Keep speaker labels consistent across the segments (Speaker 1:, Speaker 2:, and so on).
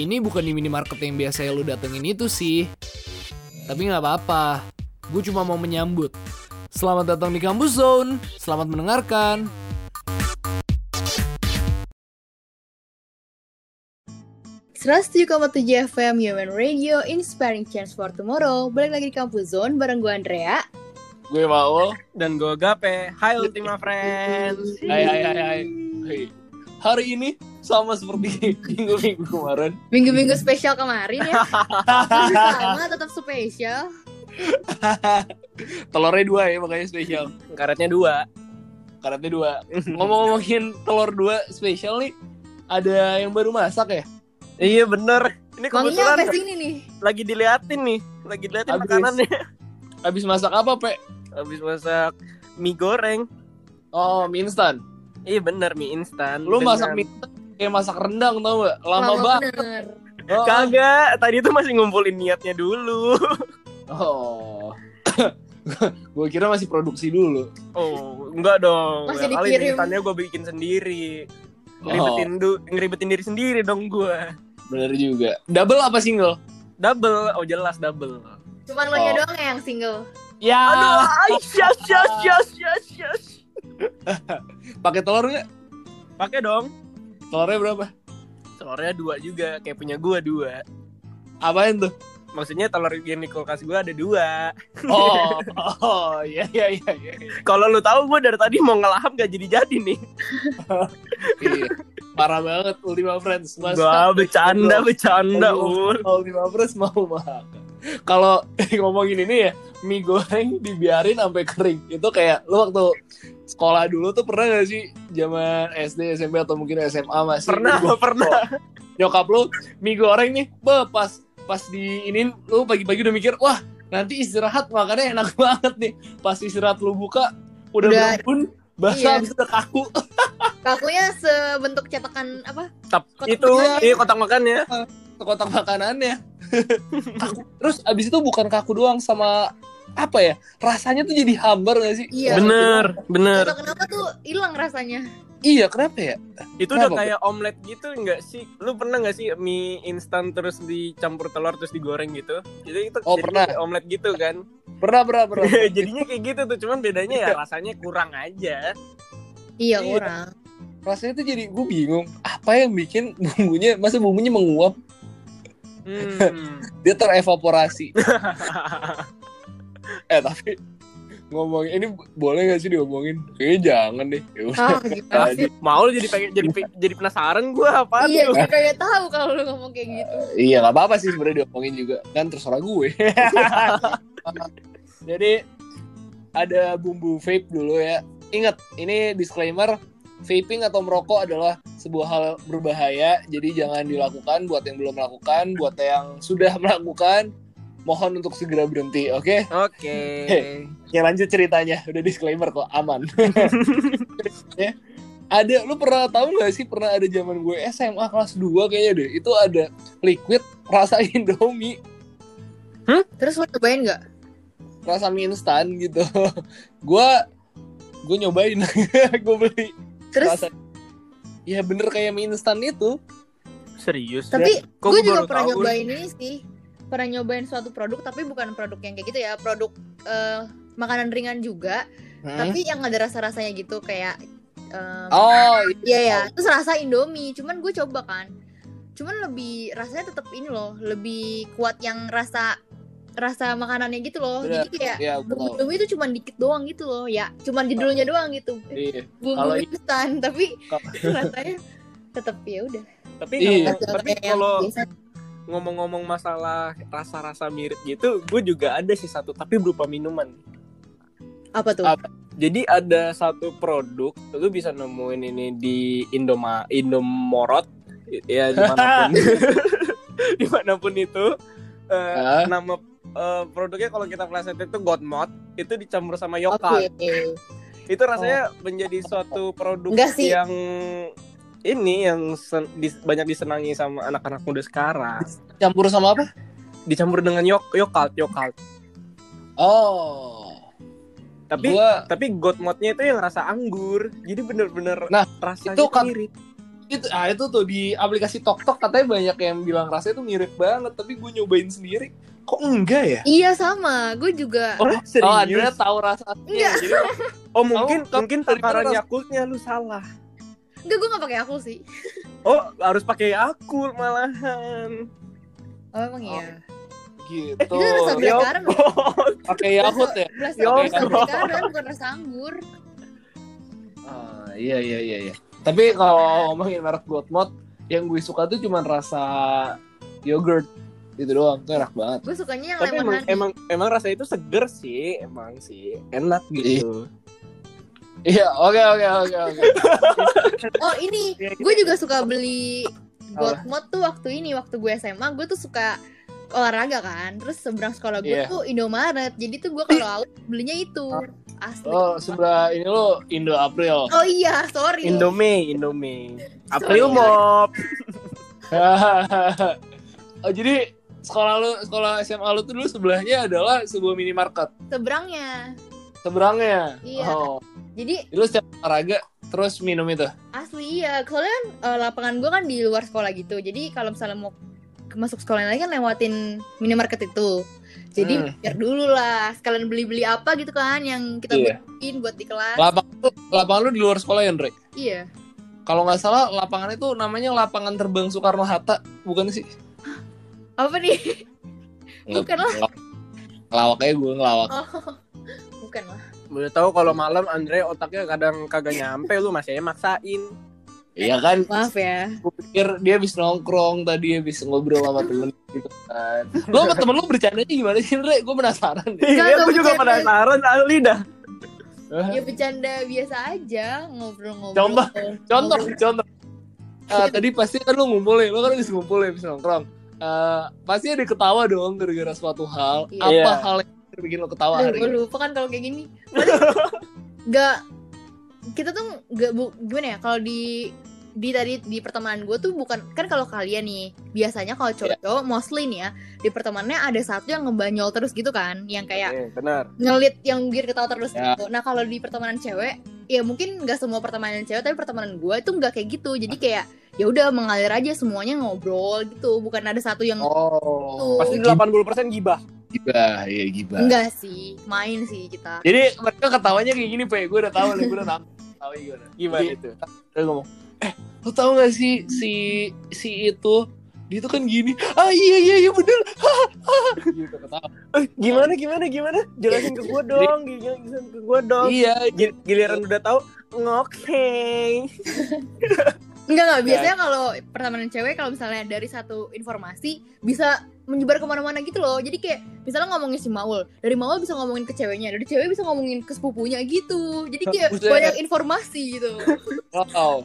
Speaker 1: Ini bukan di minimarket yang biasanya lu datengin itu sih. Tapi nggak apa-apa, gue cuma mau menyambut. Selamat datang di Kampus Zone, selamat mendengarkan.
Speaker 2: tujuh FM Human Radio Inspiring Change for Tomorrow Balik lagi di Kampus Zone bareng gue Andrea
Speaker 1: Gue Maul.
Speaker 3: dan gue gape. Hai Ultima Friends.
Speaker 1: Hai hai hai hai. Hei. Hari ini sama seperti minggu-minggu kemarin.
Speaker 2: Minggu-minggu spesial kemarin ya Masih sama tetap spesial
Speaker 1: Telurnya dua ya makanya spesial.
Speaker 3: Karetnya dua.
Speaker 1: Karetnya dua. Ngomong-ngomongin telur dua spesial nih, ada yang baru masak ya?
Speaker 3: Iya bener. Ini
Speaker 2: Wanginya
Speaker 3: kebetulan
Speaker 2: sampai sini nih
Speaker 3: lagi diliatin nih, lagi diliatin
Speaker 1: Habis.
Speaker 3: makanannya.
Speaker 1: Habis masak apa, Pe?
Speaker 3: Habis masak mie goreng.
Speaker 1: Oh, mie instan.
Speaker 3: Iya bener mie instan.
Speaker 1: Lu
Speaker 3: Bener.
Speaker 1: masak mie instan kayak masak rendang tau gak? Lama, banget.
Speaker 2: bener
Speaker 1: Oh.
Speaker 3: Kagak, tadi tuh masih ngumpulin niatnya dulu.
Speaker 1: Oh. gue kira masih produksi dulu.
Speaker 3: Oh, enggak dong.
Speaker 2: Masih
Speaker 3: Ya kali
Speaker 2: dikirim.
Speaker 3: instannya gue bikin sendiri.
Speaker 1: Oh,
Speaker 3: Ngeribetin, du- ngeribetin diri sendiri dong gue.
Speaker 1: bener juga. Double apa single?
Speaker 3: Double, oh jelas double.
Speaker 2: Cuman lo nya
Speaker 1: Oh.
Speaker 2: doang ya yang single
Speaker 1: Ya.
Speaker 3: Aduh, yes, yes, yes, yes, yes.
Speaker 1: Pakai telur nggak?
Speaker 3: Pakai dong.
Speaker 1: Telurnya berapa?
Speaker 3: Telurnya dua juga, kayak punya gua dua.
Speaker 1: Apain tuh?
Speaker 3: Maksudnya telur yang di kulkas gua ada dua.
Speaker 1: Oh, oh, iya iya iya. iya.
Speaker 3: Kalau lu tahu gua dari tadi mau ngelahap gak jadi-jadi nih.
Speaker 1: Iya. Parah banget Ultima Friends. Mas.
Speaker 3: Gua bercanda, bercanda,
Speaker 1: Aduh.
Speaker 3: ul.
Speaker 1: Ultima Friends mau makan. Kalau ngomongin ini ya, mie goreng dibiarin sampai kering. Itu kayak lu waktu sekolah dulu tuh pernah gak sih zaman SD, SMP atau mungkin SMA masih
Speaker 3: Pernah,
Speaker 1: Gua-
Speaker 3: pernah.
Speaker 1: Nyokap lu mie goreng nih, be, pas pas di ini lu pagi-pagi udah mikir, wah nanti istirahat makannya enak banget nih. Pas istirahat lu buka udah,
Speaker 2: Udah.
Speaker 1: berembun, basah
Speaker 2: Iya.
Speaker 1: habis itu udah kaku.
Speaker 2: Kakunya sebentuk cetakan apa?
Speaker 3: Tap,
Speaker 2: Kotak
Speaker 3: itu,
Speaker 2: makan.
Speaker 3: iya kotak makannya.
Speaker 1: ke kotak makanannya. Kaku. Terus abis itu bukan kaku doang sama apa ya? Rasanya tuh jadi hambar gak sih?
Speaker 2: Iya.
Speaker 3: Bener, bener.
Speaker 2: Atau kenapa tuh hilang rasanya
Speaker 1: Iya, kenapa ya?
Speaker 3: Itu udah
Speaker 1: Kenapa?
Speaker 3: kayak omelet gitu nggak sih? Lu pernah nggak sih mie instan terus dicampur telur terus digoreng gitu? Jadi itu
Speaker 1: Oh,
Speaker 3: jadi
Speaker 1: pernah.
Speaker 3: kayak omelet gitu kan.
Speaker 1: Pernah, pernah, pernah.
Speaker 3: Jadinya kayak gitu tuh, cuman bedanya ya rasanya kurang aja.
Speaker 2: Iya
Speaker 1: Iya.
Speaker 2: kurang
Speaker 1: Rasanya tuh jadi gue bingung. Apa yang bikin bumbunya? Masa bumbunya menguap?
Speaker 3: Hmm.
Speaker 1: Dia terevaporasi. eh tapi ngomong ini boleh gak sih diomongin? Kayaknya jangan deh. Ya udah.
Speaker 2: Ah gimana sih
Speaker 3: Mau lu jadi pengen jadi jadi penasaran gua apa
Speaker 2: Iya gue kayak tahu kalau lu ngomong kayak gitu
Speaker 1: Iya nggak apa-apa sih sebenarnya diomongin juga kan terserah gue. Jadi ada bumbu vape dulu ya. Ingat ini disclaimer vaping atau merokok adalah sebuah hal berbahaya. Jadi jangan dilakukan buat yang belum melakukan, buat yang sudah melakukan mohon untuk segera berhenti. Oke,
Speaker 3: Oke.
Speaker 2: Eh,
Speaker 1: ya lanjut ceritanya. Udah disclaimer kok aman. Ya. Ada lu pernah tahu nggak sih pernah ada zaman gue SMA kelas 2 kayaknya deh. Itu ada liquid rasa Indomie.
Speaker 2: Terus lo cobain gak?
Speaker 1: rasa mie instan gitu. gua gue nyobain, gue beli.
Speaker 2: Terus
Speaker 1: rasa- Ya bener kayak mie instan itu.
Speaker 3: Serius.
Speaker 2: Tapi
Speaker 3: Kok
Speaker 2: gue
Speaker 3: gua
Speaker 2: Kan juga
Speaker 3: baru
Speaker 2: pernah
Speaker 3: tahu?
Speaker 2: nyobain ini sih. Pernah nyobain suatu produk tapi bukan produk yang kayak gitu ya, produk eh, makanan ringan juga,
Speaker 1: Hmm?
Speaker 2: tapi yang ada rasa-rasanya gitu kayak em,
Speaker 1: Oh
Speaker 2: iya ya, terus rasa Indomie, cuman gue coba kan. Cuman lebih rasanya tetap ini loh, lebih kuat yang rasa rasa makanannya gitu loh.
Speaker 1: Bener.
Speaker 2: Jadi kayak
Speaker 1: Iya, gua tahu.
Speaker 2: bumbu Indomie itu cuman dikit doang gitu loh, ya. Cuman judulnya doang gitu.
Speaker 1: Iya. Kalau
Speaker 2: Bumbu instan, tapi
Speaker 1: Kalau-
Speaker 2: rasanya tetap ya udah.
Speaker 3: Tapi
Speaker 1: Iya.
Speaker 3: kalau- tapi
Speaker 2: Kayak yang
Speaker 3: kalau
Speaker 2: biasa.
Speaker 3: ngomong-ngomong masalah rasa-rasa mirip gitu, gue juga ada sih satu tapi berupa minuman.
Speaker 2: apa tuh?
Speaker 1: Apa?
Speaker 3: Jadi ada satu produk, lu bisa nemuin ini di Indoma Indomorot ya dimanapun dimanapun itu eh,
Speaker 1: Hah?
Speaker 3: nama eh, produknya kalau kita flashetin itu Godmod itu dicampur sama Yoka
Speaker 2: Oke.
Speaker 3: itu rasanya menjadi suatu produk
Speaker 2: Enggak sih.
Speaker 3: yang ini yang sen- dis- banyak disenangi sama anak-anak muda sekarang
Speaker 1: Campur sama apa?
Speaker 3: dicampur dengan yok yokalt yokalt
Speaker 1: Oh.
Speaker 3: tapi
Speaker 1: gua
Speaker 3: tapi godmodnya itu yang rasa anggur jadi bener-bener
Speaker 1: Nah,
Speaker 3: rasanya
Speaker 1: itu
Speaker 3: itu
Speaker 1: kan-
Speaker 3: mirip
Speaker 1: itu ah itu tuh di aplikasi TokTok katanya banyak yang bilang rasanya tuh mirip banget tapi gue nyobain sendiri kok enggak ya
Speaker 2: Iya sama, gue juga.
Speaker 3: Oh,
Speaker 1: oh
Speaker 3: serius?
Speaker 1: Andrea tahu rasanya
Speaker 2: Enggak.
Speaker 1: jadi
Speaker 3: Oh, mungkin
Speaker 1: Kamu-
Speaker 3: mungkin
Speaker 1: dari
Speaker 3: takaran
Speaker 1: mana?
Speaker 3: Yakultnya lu salah.
Speaker 2: Enggak, gue gak pakai aku sih.
Speaker 3: Oh, harus pakai Yakult malahan. Eh,
Speaker 2: Oh, emang iya.
Speaker 1: gitu
Speaker 2: Itu rasa
Speaker 3: Yo.
Speaker 2: belakangan loh.
Speaker 3: Oh,
Speaker 1: pakai Yahut ya
Speaker 2: Rasa
Speaker 3: Yo,
Speaker 2: rasa
Speaker 1: bro.
Speaker 2: belakangan bukan rasa anggur.
Speaker 1: Ah, iya iya iya iya. Tapi kalau ngomongin merek Godmod, yang gue suka tuh cuman rasa yogurt itu doang, itu enak banget.
Speaker 2: Gue sukanya yang
Speaker 3: Tapi
Speaker 2: lemon
Speaker 3: emang,
Speaker 2: honey.
Speaker 3: emang emang rasa itu seger sih, emang sih. Enak gitu.
Speaker 1: Iya, oke oke oke oke.
Speaker 2: Oh ini, gue juga suka beli Godmod tuh waktu ini, waktu gue SMA, gue tuh suka olahraga kan. Terus seberang sekolah gue
Speaker 1: Iya.
Speaker 2: tuh Indomaret. Jadi tuh gue kalau out belinya itu. Asli.
Speaker 1: Oh,
Speaker 2: Oh,
Speaker 1: sebelah ini lo Indo April.
Speaker 2: iya, sorry.
Speaker 3: Indomie, Indomie.
Speaker 2: Sorry.
Speaker 3: April Mop.
Speaker 1: oh, jadi sekolah lu sekolah SMA lu tuh dulu sebelahnya adalah sebuah minimarket.
Speaker 2: Seberangnya.
Speaker 1: Seberangnya.
Speaker 2: Iya.
Speaker 1: Oh,
Speaker 2: Jadi
Speaker 1: jadi lu setiap olahraga terus minum itu.
Speaker 2: Asli iya, soalnya kan eh, lapangan gue kan di luar sekolah gitu. Jadi kalau misalnya mau ke- masuk sekolah lagi kan lewatin minimarket itu. Jadi
Speaker 1: Hmm.
Speaker 2: mikir dulu lah, sekalian beli-beli apa gitu kan yang kita
Speaker 1: Iya.
Speaker 2: butuhin buat di kelas.
Speaker 1: Lapangan lu, lapangan lu di luar sekolah ya, Andre?
Speaker 2: Iya.
Speaker 1: Kalau nggak salah lapangan itu namanya lapangan terbang Soekarno Hatta, bukan sih?
Speaker 2: Apa nih? Bukan lah.
Speaker 1: Ngelawak aja gue ngelawak.
Speaker 2: Oh. Bukan lah.
Speaker 3: Udah tahu kalau malam Andre otaknya kadang kagak nyampe lu masih aja maksain.
Speaker 1: Iya kan,
Speaker 2: Maaf ya.
Speaker 1: gue pikir dia habis nongkrong tadi habis ngobrol sama temen gitu kan. Lo sama temen lo bercandanya gimana sih, Re? Gue penasaran deh.
Speaker 2: Kagak
Speaker 3: Iya, gue juga
Speaker 2: bercanda.
Speaker 3: penasaran asli dah.
Speaker 2: Ya bercanda biasa aja, ngobrol-ngobrol.
Speaker 1: Contoh, Contoh, contoh. Eh, tadi pasti kan lo ngumpul ya, lo kan habis ngumpul ya, habis nongkrong. Eh, pasti ada ketawa dong gara-gara suatu hal.
Speaker 2: Iya.
Speaker 1: Apa
Speaker 3: Iya.
Speaker 1: hal yang bikin lo ketawa
Speaker 2: Aduh,
Speaker 1: hari
Speaker 2: gue
Speaker 1: ini?
Speaker 2: lupa kan kalau kayak gini. Gak kita tuh gak bu, gimana ya kalau di di tadi di pertemanan gue tuh bukan kan kalau kalian nih biasanya kalau cowok-cowok mostly nih ya di pertemanannya ada satu yang ngebanyol terus gitu kan yang kayak
Speaker 3: Iya, benar.
Speaker 2: ngelit yang bikin ketawa terus
Speaker 1: Ya.
Speaker 2: gitu. Nah kalau di pertemanan cewek ya mungkin nggak semua pertemanan cewek tapi pertemanan gue itu nggak kayak gitu jadi kayak ya udah mengalir aja semuanya ngobrol gitu bukan ada satu yang
Speaker 1: Oh,
Speaker 3: Pasti
Speaker 1: pasti
Speaker 3: 80% gibah.
Speaker 1: gibah, iya gibah.
Speaker 2: enggak sih main sih kita
Speaker 1: Jadi mereka ketawanya kayak gini, Pak. Gue udah tahu nih, gue udah tahu. Tahu gimana.
Speaker 3: Gimana
Speaker 1: Jadi,
Speaker 3: itu?
Speaker 1: Dia ngomong, "Eh, Iya. lu tahu gak sih si si itu dia tuh kan gini. Ah iya iya iya bener. gitu ketawa.
Speaker 3: Eh, gimana gimana gimana? Jelasin ke gua dong, jelasin ke gua dong.
Speaker 1: Iya.
Speaker 3: Gil- Giliran udah tahu ngoke.
Speaker 2: Enggak
Speaker 1: Ya.
Speaker 2: enggak biasanya kalau pertemanan cewek kalau misalnya dari satu informasi bisa menyebar kemana-mana gitu loh. Jadi kayak misalnya ngomongin si Maul, dari Maul bisa ngomongin ke ceweknya, dari cewek bisa ngomongin ke sepupunya gitu. Jadi kayak
Speaker 1: Buset.
Speaker 2: banyak informasi gitu.
Speaker 1: Wow.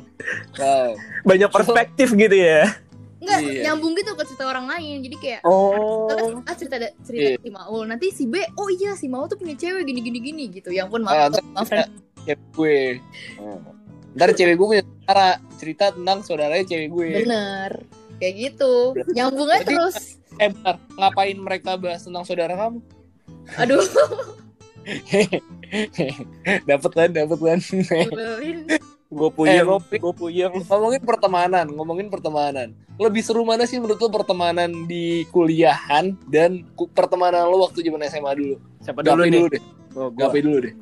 Speaker 1: Wow.
Speaker 3: Banyak perspektif gitu ya.
Speaker 2: Enggak
Speaker 1: Iya.
Speaker 2: nyambung gitu ke cerita orang lain. Jadi kayak
Speaker 3: Oh.
Speaker 2: ah, cerita da-
Speaker 1: Iya.
Speaker 2: cerita si Maul, nanti si B, oh iya si Maul tuh punya cewek gini gini gini gitu. Ya ampun maaf,
Speaker 1: Ah,
Speaker 2: maaf.
Speaker 1: ntar- Cewek gue. Hmm. Ntar cewek gue punya saudara cerita tentang saudaranya cewek gue.
Speaker 2: Bener. Kayak gitu. Nyambungnya
Speaker 1: Berarti-
Speaker 2: terus.
Speaker 1: Eh bentar, ngapain mereka bahas tentang saudara kamu?
Speaker 2: Aduh,
Speaker 1: dapat kan, dapat kan.
Speaker 2: nyebelin.
Speaker 3: Gue
Speaker 1: Eh,
Speaker 3: puyeng,
Speaker 1: ngopi.
Speaker 3: gue puyeng.
Speaker 1: ngomongin pertemanan, ngomongin pertemanan. Lebih seru mana sih menurut lo pertemanan di kuliahan dan ku- pertemanan lo waktu zaman SMA dulu?
Speaker 3: Siapa
Speaker 1: Gapai dulu deh,
Speaker 3: Oh, gua.
Speaker 1: gapai dulu deh.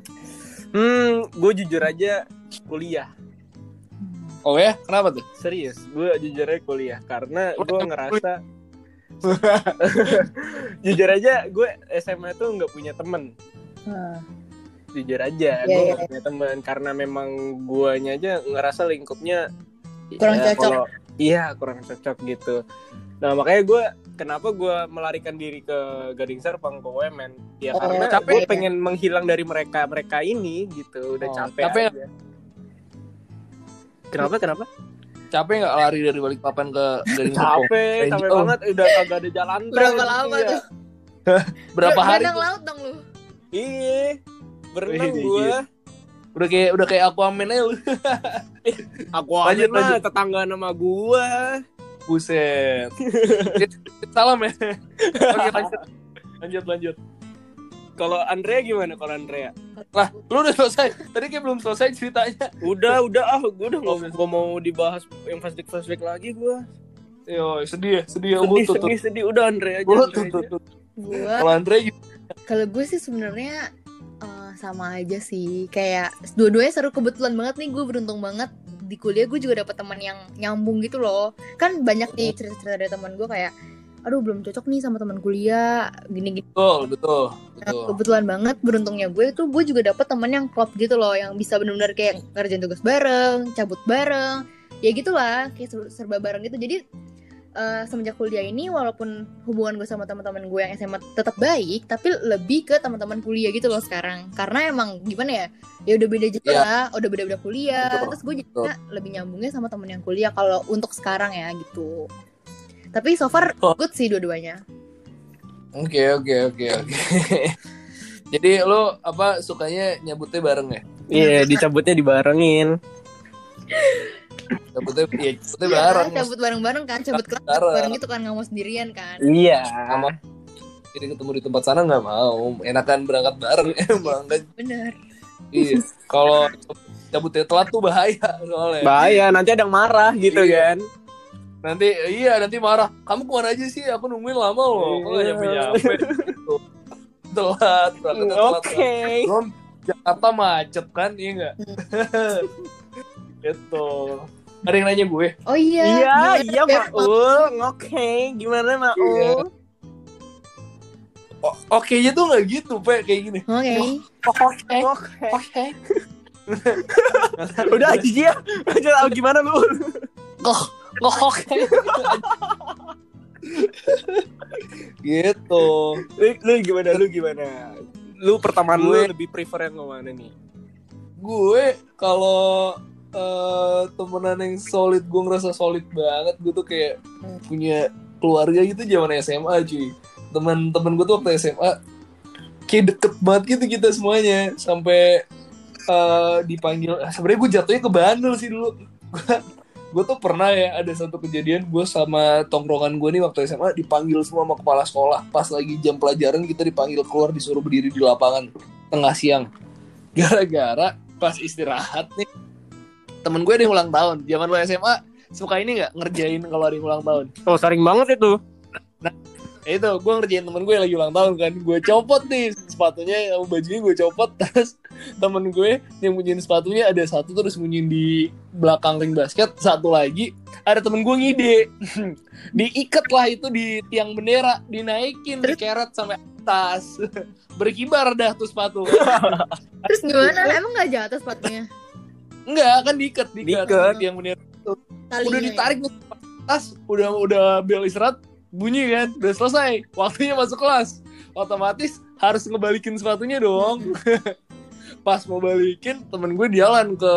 Speaker 3: Hmm, gue jujur aja kuliah.
Speaker 1: Oh ya, kenapa tuh?
Speaker 3: Serius, gue jujur aja kuliah karena gue ngerasa jujur aja gue SMA tuh nggak punya temen jujur aja
Speaker 2: Iya,
Speaker 3: gue
Speaker 2: iya,
Speaker 3: nggak punya teman karena memang guanya aja ngerasa lingkupnya ya,
Speaker 2: Kurang cocok.
Speaker 3: kalau- iya kurang cocok gitu nah makanya gue kenapa gue melarikan diri ke Gading Serpong ke UMN ya
Speaker 2: Oh,
Speaker 3: karena
Speaker 1: capek.
Speaker 3: gue pengen menghilang dari mereka mereka ini gitu udah
Speaker 1: Oh,
Speaker 3: capek,
Speaker 1: capek.
Speaker 3: aja. kenapa kenapa
Speaker 1: Capek nggak lari dari balik papan ke Gading Serpong?
Speaker 3: capek capek
Speaker 1: Oh.
Speaker 3: banget udah kagak ada jalan tol
Speaker 2: Berapa
Speaker 3: gitu
Speaker 1: iya.
Speaker 2: lama
Speaker 3: ya.
Speaker 2: tuh?
Speaker 1: Berapa hari?
Speaker 2: Berenang laut dong lu.
Speaker 3: iya berenang
Speaker 1: Wih,
Speaker 3: gue
Speaker 1: iya. Udah kayak udah kayak Aquaman aja lu. Eh,
Speaker 3: aku aja
Speaker 1: Lanjut,
Speaker 3: lah
Speaker 1: lanjut.
Speaker 3: tetangga nama gue
Speaker 1: Buset. Salam ya. Oke, lanjut. Lanjut lanjut.
Speaker 3: kalau Andrea gimana kalau Andrea
Speaker 1: Lah, lu udah selesai. Tadi kayak belum selesai ceritanya.
Speaker 3: Udah, udah ah, gue udah nggak nggak mau dibahas yang flashback flashback lagi gue.
Speaker 1: Yo, sedih ya, sedih ya.
Speaker 3: Sedih,
Speaker 1: Gue tutup.
Speaker 3: sedih, sedih. Udah Andre aja.
Speaker 1: Gue
Speaker 3: Andre aja.
Speaker 1: tutup.
Speaker 2: Gue
Speaker 1: Kalau Andre gitu.
Speaker 2: kalau gue sih sebenarnya eh, sama aja sih kayak dua-duanya seru kebetulan banget nih gue beruntung banget di kuliah gue juga dapet teman yang nyambung gitu loh kan banyak
Speaker 1: Iya.
Speaker 2: nih cerita-cerita dari teman gue kayak aduh belum cocok nih sama teman kuliah gini-gini
Speaker 1: Betul, betul.
Speaker 2: Nah,
Speaker 1: betul.
Speaker 2: kebetulan banget beruntungnya gue itu gue juga dapet temen yang klop gitu loh yang bisa benar-benar kayak ngerjain tugas bareng cabut bareng ya gitulah kayak ser- serba bareng gitu jadi eh, semenjak kuliah ini walaupun hubungan gue sama teman-teman gue yang SMA tetap baik tapi lebih ke teman-teman kuliah gitu loh sekarang karena emang gimana ya ya udah beda juga
Speaker 1: Iya.
Speaker 2: lah udah beda-beda kuliah
Speaker 1: Betul,
Speaker 2: terus gue jadinya lebih nyambungnya sama temen yang kuliah kalau untuk sekarang ya gitu tapi so far
Speaker 1: Oh.
Speaker 2: good sih dua-duanya
Speaker 1: Oke, oke, oke, oke. Jadi lu apa sukanya nyabutnya bareng ya?
Speaker 3: Iya, dicabutnya dibarengin.
Speaker 1: Nyabutnya ya, nyabutnya
Speaker 2: Iya,
Speaker 1: bareng.
Speaker 2: cabut bareng-bareng kan, cabut kelas
Speaker 1: Bareng.
Speaker 2: bareng gitu kan nggak mau sendirian kan.
Speaker 3: Iya.
Speaker 1: Nggak mau. Jadi ketemu di tempat sana nggak mau. Enakan berangkat bareng
Speaker 3: Iya.
Speaker 1: emang kan.
Speaker 2: Bener.
Speaker 1: Iya. Kalau cabutnya telat tuh bahaya soalnya.
Speaker 3: Bahaya, nanti ada yang marah gitu
Speaker 1: Iya.
Speaker 3: kan.
Speaker 1: nanti iya nanti marah. Kamu kemana aja sih? Aku nungguin lama loh. Kok nggak
Speaker 3: Iya.
Speaker 1: nyampe nyampe. Telat, berangkatnya telat.
Speaker 3: Oke.
Speaker 1: Belum Jakarta macet kan, iya nggak? gitu. Ada yang nanya gue.
Speaker 2: Oh iya.
Speaker 3: Iya,
Speaker 2: gimana
Speaker 3: iya
Speaker 2: Beb?
Speaker 3: Maul. Oke, gimana Maul?
Speaker 1: O- Oke aja tuh nggak gitu, Pe. Kayak gini.
Speaker 2: Oke.
Speaker 1: Oke.
Speaker 3: Oke.
Speaker 1: Oke.
Speaker 3: Udah jijik ya. Lanjut Al, gimana lu?
Speaker 1: Oke. gitu.
Speaker 3: lu? Lu gimana? Lu gimana? Lu pertama lu
Speaker 1: Gue-
Speaker 3: lebih prefer yang mana nih?
Speaker 1: Gue kalau eh, temenan yang solid, gue ngerasa solid banget. Gue tuh kayak punya keluarga gitu zaman SMA, cuy. Teman-teman gue tuh waktu SMA kayak deket banget gitu kita semuanya sampai eh, dipanggil. Ah, Sebenarnya gue jatuhnya ke bandel sih dulu. gue tuh pernah ya ada satu kejadian gue sama tongkrongan gue nih waktu SMA dipanggil semua sama kepala sekolah pas lagi jam pelajaran kita dipanggil keluar disuruh berdiri di lapangan tengah siang gara-gara pas istirahat nih temen gue ada yang ulang tahun zaman lo SMA suka ini nggak ngerjain kalau ada yang ulang tahun
Speaker 3: Oh, sering banget itu.
Speaker 1: Ya itu gue ngerjain temen gue yang lagi ulang tahun kan gue copot nih sepatunya sama bajunya gue copot terus temen gue yang bunyiin sepatunya ada satu terus bunyiin di belakang ring basket satu lagi ada temen gue ngide diikat lah itu di tiang bendera dinaikin dikeret sampai atas berkibar dah tuh sepatu
Speaker 2: Terus gimana? Emang nggak jatuh sepatunya?
Speaker 1: enggak kan diikat diikat
Speaker 3: Diikat.
Speaker 1: di tiang bendera
Speaker 2: Talinya
Speaker 1: udah
Speaker 2: ya?
Speaker 1: ditarik nih tas udah udah bel istirahat bunyi kan udah selesai waktunya masuk kelas otomatis harus ngebalikin sepatunya dong pas mau balikin temen gue di jalan ke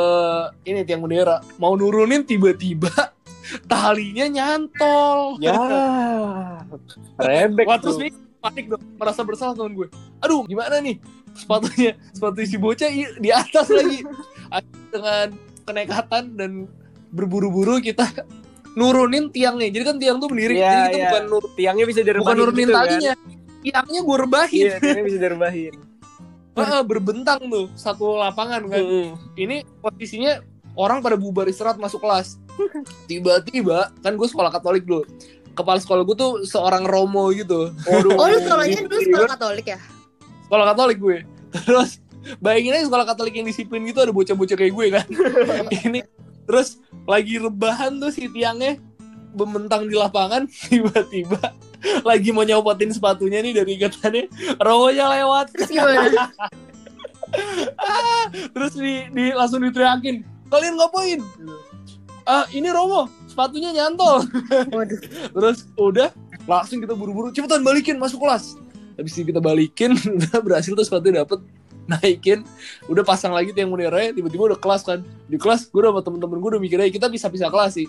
Speaker 1: ini tiang bendera mau nurunin tiba-tiba talinya nyantol
Speaker 3: Ya. Rebek
Speaker 1: Wah, terus
Speaker 3: tuh.
Speaker 1: nih panik dong merasa bersalah temen gue aduh gimana nih sepatunya sepatu si bocah i- di atas lagi Akhirnya dengan kenekatan dan berburu-buru kita nurunin tiangnya jadi kan tiang tuh berdiri
Speaker 3: Iya,
Speaker 1: jadi kita
Speaker 3: iya.
Speaker 1: bukan nur-
Speaker 3: Tiangnya bisa direbahin.
Speaker 1: bukan nurunin
Speaker 3: gitu, kan?
Speaker 1: talinya tiangnya gue rebahin
Speaker 3: Iya, tiangnya bisa direbahin.
Speaker 1: Heeh, berbentang tuh satu lapangan kan
Speaker 3: Mm-mm.
Speaker 1: ini posisinya orang pada bubar istirahat masuk kelas tiba-tiba kan gue sekolah katolik dulu kepala sekolah gue tuh seorang romo gitu
Speaker 3: Waduh.
Speaker 2: Oh lu sekolahnya dulu sekolah Katolik ya?
Speaker 1: sekolah Katolik gue. Terus bayangin aja sekolah Katolik yang disiplin gitu ada bocah-bocah kayak gue kan. Ini terus lagi rebahan tuh si tiangnya bementang di lapangan tiba-tiba lagi mau nyopotin sepatunya nih dari ikatannya robonya lewat Ah,
Speaker 2: Terus gimana?
Speaker 1: terus di, di langsung diteriakin kalian ngapain ah ini Romo sepatunya nyantol
Speaker 2: Waduh.
Speaker 1: Terus udah langsung kita buru-buru cepetan balikin masuk kelas. Habis itu kita balikin, udah berhasil terus sepatunya dapet naikin, udah pasang lagi tiang bendera tiba-tiba udah kelas kan. Di kelas gue udah sama temen-temen gue udah mikirnya kita bisa pisah kelas sih.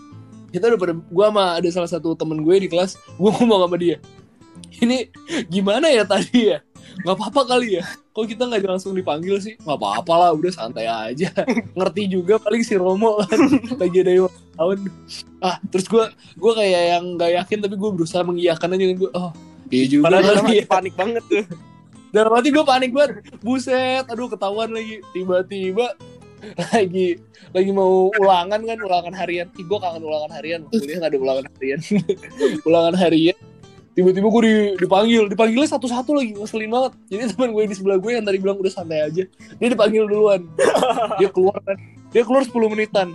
Speaker 1: Kita udah pada gue sama ada salah satu temen gue di kelas, gue ngomong sama dia. Ini gimana ya tadi ya? Gak apa-apa kali ya? Kok kita nggak langsung dipanggil sih? Gak apa-apa lah, udah santai aja. Ngerti juga paling si Romo kan lagi ada yang ulang tahun. Ah, terus gue gue kayak yang nggak yakin tapi gue berusaha mengiyakan aja gue kan, oh iya juga
Speaker 3: Padahal
Speaker 1: kali
Speaker 3: masih
Speaker 1: ya.
Speaker 3: panik banget tuh.
Speaker 1: Dalam hati gue panik banget. Buset, aduh ketahuan lagi. Tiba-tiba lagi lagi mau ulangan kan ulangan harian. Ih, gue kangen ulangan harian. Kuliah gak ada ulangan harian. ulangan harian. Tiba-tiba gue di- dipanggil, dipanggilnya satu-satu lagi, ngeselin banget. Jadi teman gue di sebelah gue yang tadi bilang udah santai aja, dia dipanggil duluan. Dia keluar kan, dia keluar 10 menitan.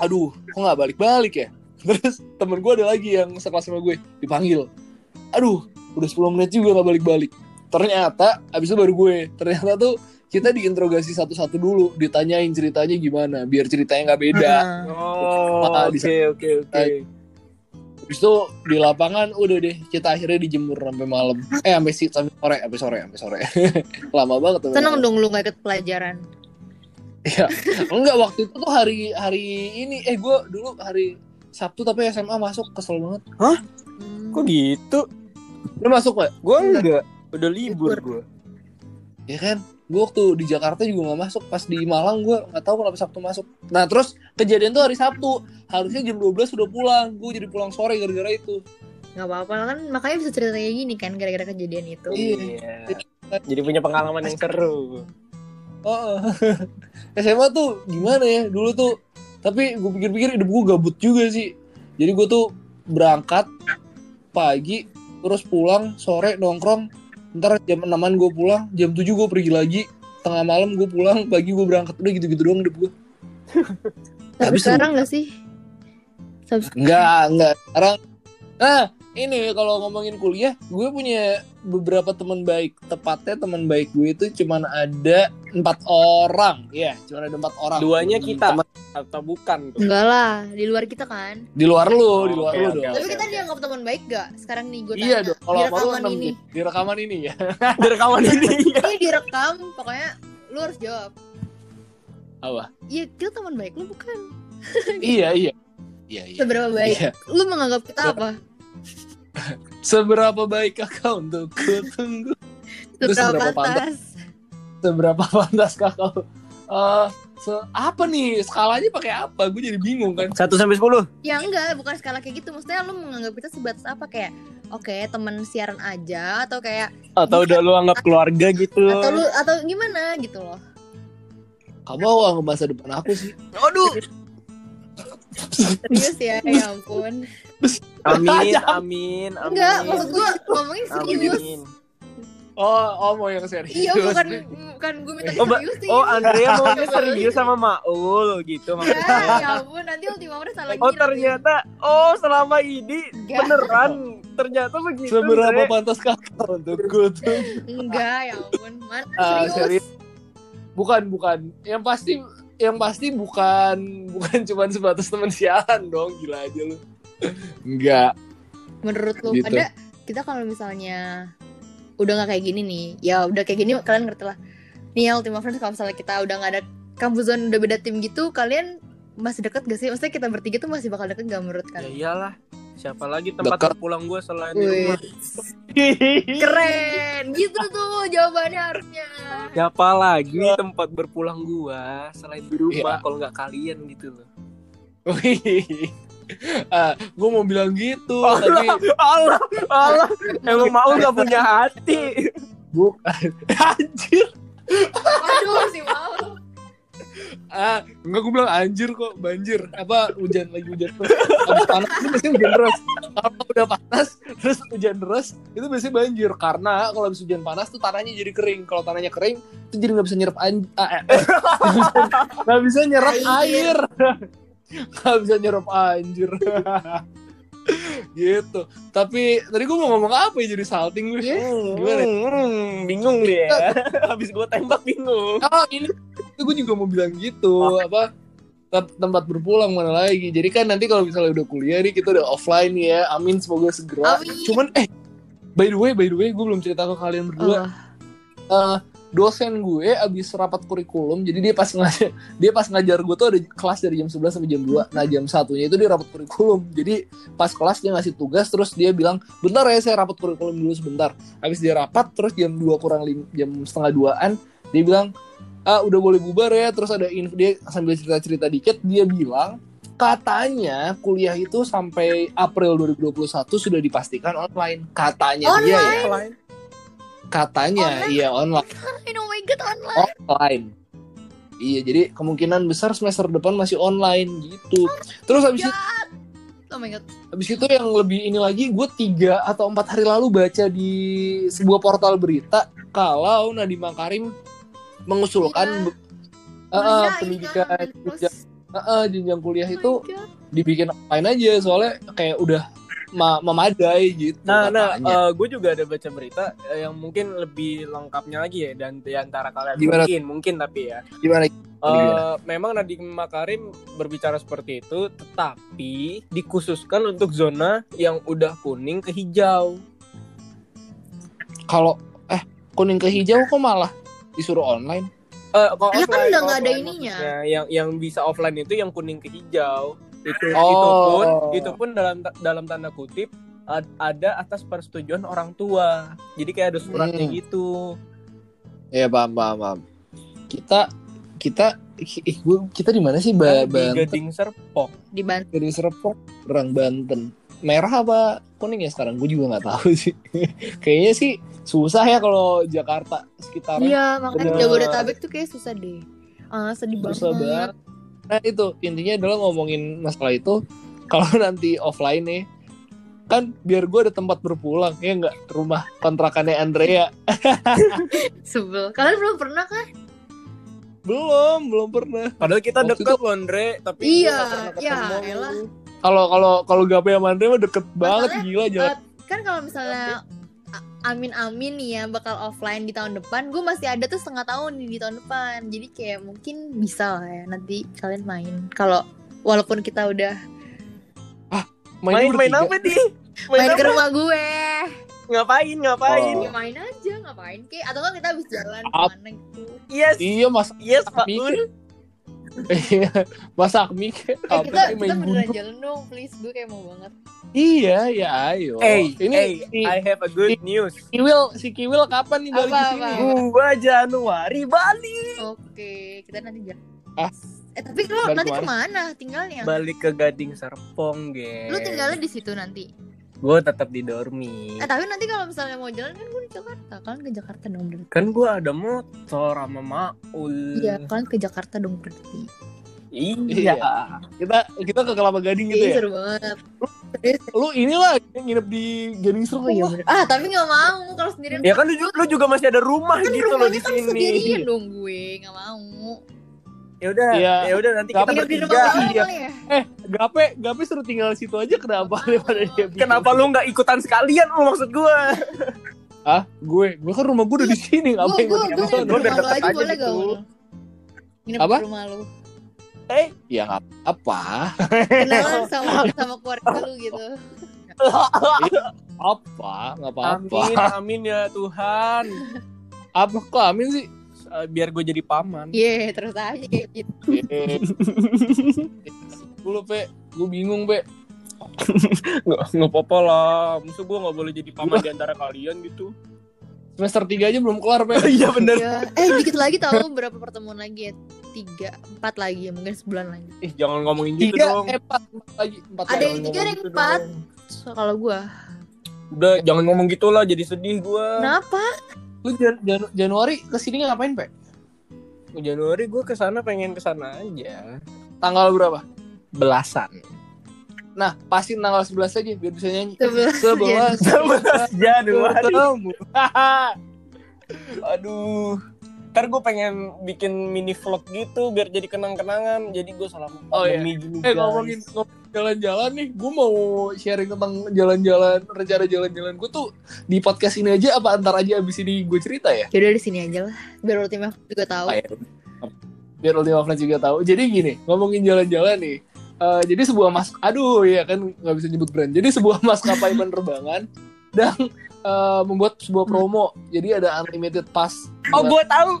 Speaker 1: Aduh, kok nggak balik-balik ya? Terus temen gue ada lagi yang sekelas sama gue, dipanggil. Aduh, udah 10 menit juga nggak balik-balik ternyata abis itu baru gue ternyata tuh kita diinterogasi satu-satu dulu ditanyain ceritanya gimana biar ceritanya nggak beda
Speaker 2: Nah,
Speaker 3: Oh, oke oke oke.
Speaker 1: abis itu di lapangan udah deh kita akhirnya dijemur sampai malam eh sampai si sampai sore sampai sore sampai sore lama banget tuh
Speaker 2: seneng dong lu gak ikut pelajaran.
Speaker 1: Iya. enggak waktu itu tuh hari hari ini eh gue dulu hari Sabtu tapi SMA masuk kesel banget
Speaker 2: Hmm.
Speaker 3: Kok gitu?
Speaker 1: lu masuk gak?
Speaker 3: Gua enggak. Udah Iya. libur
Speaker 2: Libur.
Speaker 3: gua.
Speaker 1: ya kan gue waktu di Jakarta juga nggak masuk pas di Malang gue nggak tahu kenapa Sabtu masuk nah terus kejadian tuh hari Sabtu harusnya jam 12 udah pulang gue jadi pulang sore gara-gara itu
Speaker 2: Gak apa-apa kan makanya bisa cerita kayak gini kan gara-gara kejadian itu.
Speaker 3: Iya. Jadi punya pengalaman yang seru.
Speaker 1: oh SMA tuh gimana ya dulu tuh tapi gue pikir-pikir hidup gue gabut juga sih jadi gue tuh berangkat pagi terus pulang sore nongkrong ntar jam 6an gue pulang jam 7 gue pergi lagi tengah malam gue pulang pagi gue berangkat udah gitu-gitu doang hidup gue
Speaker 2: Tapi
Speaker 1: Habis lu-
Speaker 2: sekarang gak sih? Subs-
Speaker 1: Enggak, enggak. Sekarang nah, ini kalau ngomongin kuliah, gue punya beberapa teman baik. Tepatnya teman baik gue itu cuman ada empat orang. Ya, cuman ada empat orang.
Speaker 3: Duanya kita
Speaker 1: Teman-
Speaker 3: atau bukan? tuh?
Speaker 2: Enggak lah, di luar kita kan.
Speaker 1: di luar lu,
Speaker 3: Oh,
Speaker 1: di luar
Speaker 3: oke,
Speaker 1: lu
Speaker 3: oke,
Speaker 1: dong.
Speaker 2: Tapi
Speaker 3: oke,
Speaker 2: kita
Speaker 3: oke.
Speaker 2: dianggap teman baik gak? Sekarang nih gue tanya.
Speaker 1: Iya dong, kalau
Speaker 2: di
Speaker 1: sama lu
Speaker 2: rekaman
Speaker 1: enam
Speaker 2: ini.
Speaker 1: deh. di rekaman ini ya.
Speaker 3: Di rekaman ini.
Speaker 2: Ini direkam, pokoknya lu harus jawab.
Speaker 1: Apa?
Speaker 2: Iya, kita teman baik lu bukan.
Speaker 1: iya, iya. Iya, iya.
Speaker 2: Seberapa baik?
Speaker 1: Iya.
Speaker 2: Lu menganggap kita apa?
Speaker 1: Seberapa baik kakak untuk tunggu? Terus seberapa
Speaker 2: Seberapa
Speaker 1: pantas?
Speaker 2: pantas?
Speaker 1: Seberapa pantas kakak? Eh, se- apa nih skalanya pakai apa? Gue jadi bingung kan.
Speaker 3: Satu sampai sepuluh.
Speaker 2: Ya enggak, bukan skala kayak gitu. Maksudnya lu menganggap kita sebatas apa kayak oke, teman siaran aja atau kayak
Speaker 3: Atau udah lu anggap keluarga gitu.
Speaker 2: atau lu atau gimana gitu loh.
Speaker 1: Kamu awal masa depan aku sih.
Speaker 3: Aduh.
Speaker 2: Serius ya, ya ampun.
Speaker 3: Amin, amin, amin.
Speaker 2: Enggak, maksud gua ngomongin serius.
Speaker 3: Amin.
Speaker 1: Oh, oh mau yang serius.
Speaker 2: Iya, bukan bukan gue minta
Speaker 3: Oh, ba-
Speaker 2: serius sih.
Speaker 3: Oh, Andrea maunya serius sama Maul
Speaker 2: Ya,
Speaker 3: gitu maksudnya.
Speaker 2: ya ampun, nanti ultima order salah
Speaker 3: Oh
Speaker 2: ngira.
Speaker 3: ternyata, oh selama ini
Speaker 2: Enggak.
Speaker 3: beneran ternyata begitu.
Speaker 1: Seberapa
Speaker 3: Andre.
Speaker 1: pantas kakak untukku tuh?
Speaker 2: Enggak, ya ampun. Mana
Speaker 1: Ah,
Speaker 2: serius?
Speaker 1: serius. Bukan, bukan. Yang pasti yang pasti bukan bukan cuman sebatas teman siaran dong, gila aja lu. Enggak.
Speaker 2: Menurut lu
Speaker 1: Gitu.
Speaker 2: ada kita kalau misalnya udah nggak kayak gini nih, ya udah kayak gini kalian ngerti lah. Nih ya Ultima Friends kalau misalnya kita udah nggak ada kampus zone udah beda tim gitu, kalian masih dekat gak sih? Maksudnya kita bertiga tuh masih bakal deket gak menurut
Speaker 3: Ya
Speaker 2: kalian?
Speaker 3: iyalah, siapa lagi tempat
Speaker 1: Dekat.
Speaker 3: pulang gue selain di
Speaker 2: Wih,
Speaker 3: rumah.
Speaker 2: keren gitu tuh jawabannya harusnya
Speaker 3: Siapa lagi tempat berpulang gua selain di rumah kalau nggak kalian gitu loh.
Speaker 1: ah, gue mau bilang gitu,
Speaker 3: Oh,
Speaker 1: tapi
Speaker 3: Allah, Allah, Allah. Emang Maul nggak punya hati.
Speaker 1: bukan. Anjir.
Speaker 2: aduh si mau
Speaker 1: Ah, enggak gue bilang anjir kok, banjir. Apa hujan lagi hujan terus. Habis panas itu biasanya hujan terus. Kalau udah panas terus hujan terus, itu biasanya banjir karena kalau habis hujan panas tuh tanahnya jadi kering. Kalau tanahnya kering, itu jadi nggak bisa nyerap anj ah, eh, nggak bisa nyerap air.
Speaker 2: Air.
Speaker 1: Nggak bisa nyerap anjir. gitu. Tapi tadi gue mau ngomong apa ya jadi salting gue. Gimana?
Speaker 3: Hmm, bingung dia. Habis gua tembak bingung.
Speaker 1: Oh ini itu gue juga mau bilang gitu apa tem- tempat berpulang mana lagi jadi kan nanti kalau misalnya udah kuliah nih kita udah offline nih ya amin semoga segera
Speaker 2: Amin.
Speaker 1: cuman eh by the way by the way gue belum cerita ke kalian berdua Eh, dosen gue abis rapat kurikulum jadi dia pas ngajar dia pas ngajar gue tuh ada kelas dari jam 11 sampai jam 2 nah jam satunya itu dia rapat kurikulum jadi pas kelas dia ngasih tugas terus dia bilang bentar ya saya rapat kurikulum dulu sebentar habis dia rapat terus jam 2 kurang lim- jam setengah duaan dia bilang ah udah boleh bubar ya terus ada info dia sambil cerita cerita dikit dia bilang katanya kuliah itu sampai April 2021 sudah dipastikan online katanya dia ya
Speaker 2: Online.
Speaker 1: Katanya
Speaker 2: Online.
Speaker 1: iya online.
Speaker 2: Online, oh my god online.
Speaker 1: Online. Iya, jadi kemungkinan besar semester depan masih online gitu. Terus habis itu,
Speaker 2: Oh my god.
Speaker 1: habis itu yang lebih ini lagi, gue tiga atau empat hari lalu baca di sebuah portal berita kalau Nadiem Makarim mengusulkan
Speaker 2: Iya.
Speaker 1: be- Ah, ah,
Speaker 2: Kuliah,
Speaker 1: pendidikan
Speaker 2: iya,
Speaker 1: jenjang,
Speaker 2: terus-
Speaker 1: ah, ah, jenjang kuliah
Speaker 2: oh my
Speaker 1: itu
Speaker 2: God.
Speaker 1: dibikin online aja soalnya kayak udah ma- memadai gitu.
Speaker 3: Nah, nah,
Speaker 1: katanya.
Speaker 3: gue juga ada baca berita eh, yang mungkin lebih lengkapnya lagi ya dan di antara kalian
Speaker 1: Gimana?
Speaker 3: mungkin, mungkin tapi ya.
Speaker 1: gimana?
Speaker 3: Eh,
Speaker 1: Iya.
Speaker 3: memang Nadiem Makarim berbicara seperti itu, tetapi dikhususkan untuk zona yang udah kuning ke hijau.
Speaker 1: Kalau eh kuning ke hijau kok malah disuruh online?
Speaker 3: Eh, kalau
Speaker 2: Ya kan
Speaker 3: offline,
Speaker 2: udah nggak ada
Speaker 3: offline
Speaker 2: ininya.
Speaker 3: maksudnya. Yang yang bisa offline itu yang kuning ke hijau. Itu itu
Speaker 1: Oh.
Speaker 3: pun itu pun dalam ta- dalam tanda kutip ad- ada atas persetujuan orang tua. Jadi kayak ada suratnya
Speaker 1: Hmm.
Speaker 3: gitu.
Speaker 1: Ya paham paham paham. Kita kita ih, gua- kita di mana sih ba
Speaker 3: Kan di
Speaker 1: Banten?
Speaker 3: Gading Serpong.
Speaker 2: di Ban-
Speaker 1: Gading Serpong, Rang Banten. Merah apa kuning ya sekarang? Gue juga nggak tahu sih. Kayaknya sih susah ya kalau Jakarta sekitarnya.
Speaker 2: Iya, makanya
Speaker 3: Bener.
Speaker 2: Jabodetabek tuh kayak susah deh. Ah, sedih
Speaker 1: susah
Speaker 2: banget.
Speaker 1: banget. Nah itu intinya adalah ngomongin masalah itu. Kalau nanti offline nih, kan biar gue ada tempat berpulang ya nggak rumah kontrakannya Andrea
Speaker 2: Sebel. Kalian belum pernah kan?
Speaker 1: belum belum pernah
Speaker 3: Padahal kita
Speaker 1: Waktu
Speaker 3: dekat loh Andre, tapi
Speaker 2: Iya,
Speaker 3: gua nggak pernah
Speaker 2: iya,
Speaker 3: ketemu.
Speaker 2: elah.
Speaker 1: kalau kalau kalau gape sama Andrea mah deket banget gila jalan
Speaker 2: Kan kalau misalnya a- amin-amin nih ya bakal offline di tahun depan, gue masih ada tuh setengah tahun nih di tahun depan. Jadi kayak mungkin bisa lah ya nanti kalian main. Kalau walaupun kita udah
Speaker 1: Mainnya bertiga.
Speaker 3: Main-main apa nih? Main,
Speaker 2: main
Speaker 3: apa?
Speaker 2: ke rumah gue,
Speaker 3: Ngapain? Ngapain?
Speaker 1: Oh.
Speaker 2: Ya main aja ngapain kek? Atau kan kita habis jalan
Speaker 1: Ap-
Speaker 2: kemana gitu?
Speaker 3: Yes.
Speaker 1: Iya Mas
Speaker 3: Yes, Pak
Speaker 1: Tapi- gitu.
Speaker 3: Un.
Speaker 1: Iya, Mas Akmi kayak
Speaker 2: Eh,
Speaker 1: apa
Speaker 2: kita
Speaker 1: sih
Speaker 2: kita
Speaker 1: main
Speaker 2: beneran
Speaker 1: gundu?
Speaker 2: jalan dong, please. Gue kayak mau banget.
Speaker 1: Iya, ya ayo.
Speaker 3: Hey,
Speaker 1: ini
Speaker 3: hey,
Speaker 1: si
Speaker 3: I have a good news.
Speaker 1: Kiwil, si Kiwil kapan nih balik
Speaker 2: Apa,
Speaker 1: ke sini?
Speaker 2: apa?
Speaker 3: Gua Januari Bali.
Speaker 2: Oke, kita nanti jalan.
Speaker 1: Ah.
Speaker 2: Eh tapi lo
Speaker 1: Balik
Speaker 2: nanti
Speaker 1: kemana?
Speaker 2: kemana tinggalnya?
Speaker 3: Balik ke Gading Serpong, geng.
Speaker 2: Lu tinggalnya di situ nanti.
Speaker 3: Gua tetap di dormi.
Speaker 2: Eh tapi nanti kalau misalnya mau jalan kan gue di Jakarta. Kalian ke Jakarta dong berarti.
Speaker 3: Kan gua ada motor sama Maul.
Speaker 2: Iya, kalian ke Jakarta dong berarti.
Speaker 3: Iya.
Speaker 1: Kita kita ke Kelapa Gading gitu
Speaker 2: Iya,
Speaker 1: ya.
Speaker 2: seru banget.
Speaker 1: Lu inilah yang nginep di Gading Serpong.
Speaker 2: Oh iya
Speaker 1: lah.
Speaker 2: bener. Ah, tapi gak mau kalau sendirian.
Speaker 3: Ya kan lu, ju- lu juga masih ada rumah
Speaker 2: kan
Speaker 3: gitu loh
Speaker 2: rumahnya
Speaker 3: di
Speaker 2: kan
Speaker 3: sini.
Speaker 2: sendirian dong gue, gak mau.
Speaker 3: Ya udah,
Speaker 1: Iya.
Speaker 3: ya udah nanti
Speaker 1: Gak
Speaker 3: kita
Speaker 1: apa-apa.
Speaker 2: Nginep di rumah
Speaker 3: bertiga.
Speaker 2: orang
Speaker 1: Iya.
Speaker 2: kali ya.
Speaker 1: Gape, Gape suruh tinggal di situ aja kenapa
Speaker 2: Nggak mau.
Speaker 1: daripada dia bingung.
Speaker 3: Kenapa lu nggak ikutan sekalian lu maksud gua?
Speaker 1: Ah, gue, gue kan rumah gue udah di
Speaker 2: Iya.
Speaker 1: sini,
Speaker 2: Gue
Speaker 1: ngapain
Speaker 2: gue
Speaker 1: gue tinggal
Speaker 2: gue nginep
Speaker 1: di
Speaker 2: di
Speaker 1: sana?
Speaker 3: Lu udah
Speaker 2: rumah lu
Speaker 3: deket
Speaker 2: aja
Speaker 3: aja
Speaker 2: boleh gak?
Speaker 3: gitu.
Speaker 2: Ul? Nginep
Speaker 1: Apa?
Speaker 2: di rumah lu.
Speaker 3: Eh,
Speaker 1: Ya nggak apa.
Speaker 2: Kenalan sama sama keluarga lu gitu.
Speaker 1: Apa? Nggak apa-apa.
Speaker 3: amin, amin ya Tuhan.
Speaker 1: Apa kok amin sih?
Speaker 3: Eh, Biar gue jadi paman.
Speaker 2: Iya, terus aja kayak gitu.
Speaker 1: Gue pe, gue bingung pe.
Speaker 3: Nggak nggak apa-apa lah. Maksud gue nggak boleh jadi paman di antara kalian gitu.
Speaker 1: Semester 3 aja belum kelar pe.
Speaker 3: Iya bener.
Speaker 2: Ya. Eh, dikit lagi tahu berapa pertemuan lagi ya? Tiga, empat lagi ya, mungkin sebulan lagi.
Speaker 3: Ih, jangan ngomongin gitu
Speaker 2: Iya,
Speaker 1: tiga
Speaker 3: dong.
Speaker 1: eh, empat, empat lagi empat
Speaker 2: Ada
Speaker 1: lagi.
Speaker 2: yang
Speaker 3: Jangan
Speaker 2: tiga, ada yang
Speaker 3: ngomong gitu
Speaker 2: empat.
Speaker 3: dong.
Speaker 2: So, kalau gue
Speaker 3: Udah, jangan ngomong gitulah jadi sedih gue.
Speaker 2: Kenapa?
Speaker 1: lu Jan- Jan- Januari kesini ngapain pak
Speaker 3: Januari gue kesana pengen kesana aja.
Speaker 1: tanggal berapa
Speaker 3: Belasan.
Speaker 1: nah pasti tanggal 11 aja biar bisa nyanyi
Speaker 2: Sebelas
Speaker 1: sebelas
Speaker 3: Sebelas Januari.
Speaker 1: ketemu
Speaker 3: Aduh. Ntar gue pengen bikin mini vlog gitu biar jadi kenang-kenangan. Jadi gue salam
Speaker 1: Oh, iya.
Speaker 3: pandemi gini,
Speaker 1: eh
Speaker 3: guys.
Speaker 1: ngomongin ngomongin jalan-jalan nih gue mau sharing tentang jalan-jalan rencana jalan-jalan gue tuh di podcast ini aja apa antar aja abis ini gue cerita ya
Speaker 2: Yaudah di sini aja lah. Biar tim aku juga tahu.
Speaker 1: Ah, ya. biar Ultima Friends juga tahu jadi gini ngomongin jalan-jalan nih Eh, jadi sebuah mas aduh ya kan nggak bisa nyebut brand jadi sebuah maskapai penerbangan dan eh, membuat sebuah promo jadi ada unlimited pass
Speaker 3: Oh gue tahu.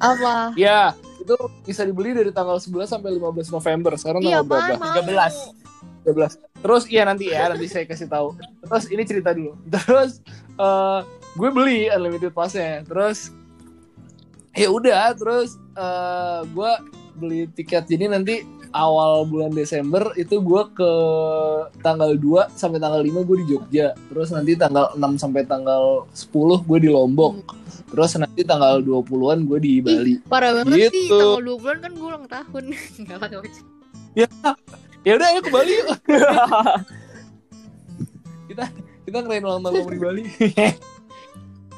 Speaker 2: Apa?
Speaker 1: ya itu bisa dibeli dari tanggal 11 sampai 15 November sekarang
Speaker 2: Iya,
Speaker 1: tanggal
Speaker 2: apaan?
Speaker 1: berapa
Speaker 2: Mau.
Speaker 3: 13.
Speaker 1: 13 terus iya nanti ya nanti saya kasih tahu terus ini cerita dulu terus eh, gue beli unlimited passnya terus ya udah terus eh, gue beli tiket jadi nanti awal bulan Desember itu gue ke tanggal 2 sampai tanggal 5 gue di Jogja. Terus nanti tanggal 6 sampai tanggal 10 gue di Lombok. Terus nanti tanggal 20-an gue di Bali.
Speaker 2: Parah banget sih
Speaker 3: Gitu.
Speaker 2: tanggal 2 bulan kan gue ulang tahun. Enggak lah, enggak bercanda.
Speaker 1: Ya, ya udah ayo ke Bali yuk. kita kita ngerayain ulang tahun kamu di Bali.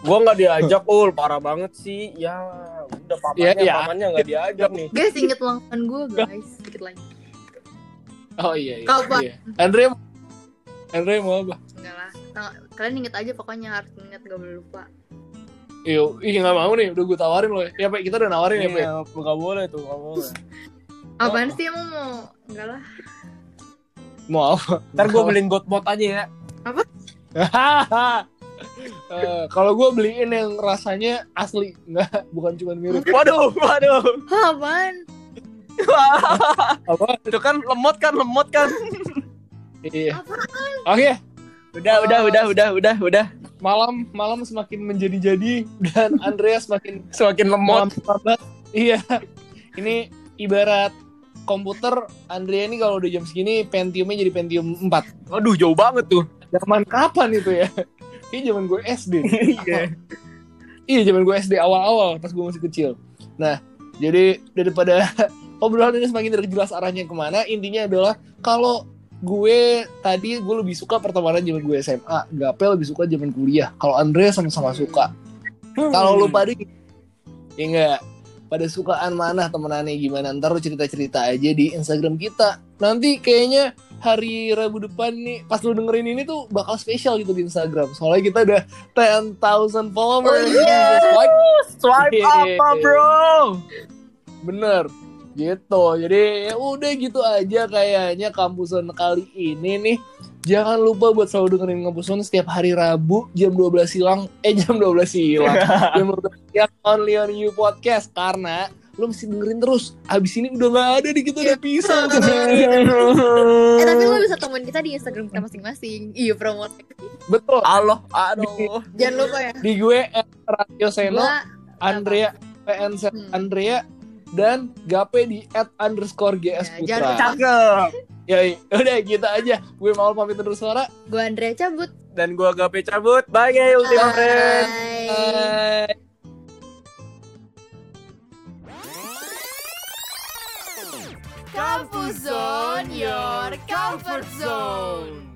Speaker 3: Gua nggak diajak, ul parah banget sih. Ya, udah pamannya,
Speaker 1: Ya, ya.
Speaker 3: pamannya nggak diajak nih.
Speaker 2: Guys, inget ulang tahun gue, guys. Sedikit lagi.
Speaker 1: Oh iya iya.
Speaker 2: Kapan?
Speaker 1: iya. Andre mau- Andre mau apa?
Speaker 2: Enggak lah. Tang- Kalian inget aja pokoknya harus inget gak boleh lupa.
Speaker 1: Iya, ih nggak mau nih, udah gue tawarin loh. Ya, Pe, kita udah nawarin ya, Pe.
Speaker 3: Iya, nggak boleh tuh, nggak boleh.
Speaker 2: Apaan sih emang mau? Enggak lah.
Speaker 1: Mau apa?
Speaker 3: Ntar gue beliin bot-bot aja ya.
Speaker 1: Eh, kalau gue beliin yang rasanya asli, nggak bukan cuma mirip.
Speaker 3: Waduh, waduh.
Speaker 2: Hah, apaan?
Speaker 1: Apa?
Speaker 3: Itu kan lemot kan, lemot kan.
Speaker 1: Iya.
Speaker 2: Apaan?
Speaker 1: Oke,
Speaker 3: Udah, udah, udah, udah, udah, udah.
Speaker 1: malam malam semakin menjadi-jadi dan Andrea semakin
Speaker 3: Semakin lemot.
Speaker 1: malam terlambat. Iya. Ini ibarat komputer Andrea ini kalau udah jam segini Pentiumnya jadi Pentium 4.
Speaker 3: Aduh, jauh banget tuh.
Speaker 1: Zaman kapan itu ya? Kayaknya zaman gue SD.
Speaker 3: Iya.
Speaker 1: Iya, zaman gue SD awal-awal pas gue masih kecil. Nah, jadi daripada obrolan ini semakin tidak jelas arahnya kemana, intinya adalah kalau gue tadi gue lebih suka pertemanan zaman gue SMA, Gape lebih suka zaman kuliah. Kalau Andre sama-sama suka. Kalau lu pada ya enggak pada sukaan mana temenannya gimana ntar lu cerita-cerita aja di Instagram kita. Nanti kayaknya hari Rabu depan nih pas lu dengerin ini tuh bakal spesial gitu di Instagram. Soalnya kita udah 10.000 followers.
Speaker 2: Oh, yeah.
Speaker 1: Jesus, what?
Speaker 3: Swipe
Speaker 1: Iya.
Speaker 3: apa, bro?
Speaker 1: Bener gitu jadi ya udah gitu aja kayaknya kampuson kali ini nih jangan lupa buat selalu dengerin kampuson setiap hari Rabu jam 12 silang eh jam 12 silang jam 12 siang only on you podcast karena lu mesti dengerin terus abis ini udah nggak ada di kita udah pisah
Speaker 2: Eh, tapi lo bisa temuin kita di Instagram kita masing-masing. Iya, promote.
Speaker 1: betul
Speaker 3: Aloh, aduh.
Speaker 2: Jangan lupa ya.
Speaker 1: di gue at Radio Seno
Speaker 2: Gua
Speaker 1: Andrea PN Sen-
Speaker 2: Hmm.
Speaker 1: Andrea dan Gape di at underscore GS
Speaker 2: Ya, jangan
Speaker 3: Nah.
Speaker 1: Putra
Speaker 2: lupa.
Speaker 3: Cakep.
Speaker 1: ya udah gitu aja gue mau pamit terus suara
Speaker 2: gua Andrea cabut.
Speaker 3: Dan gua gape cabut. Bye, ya, Ultima Friends.
Speaker 2: Bye.
Speaker 4: Comfort zone, your comfort zone.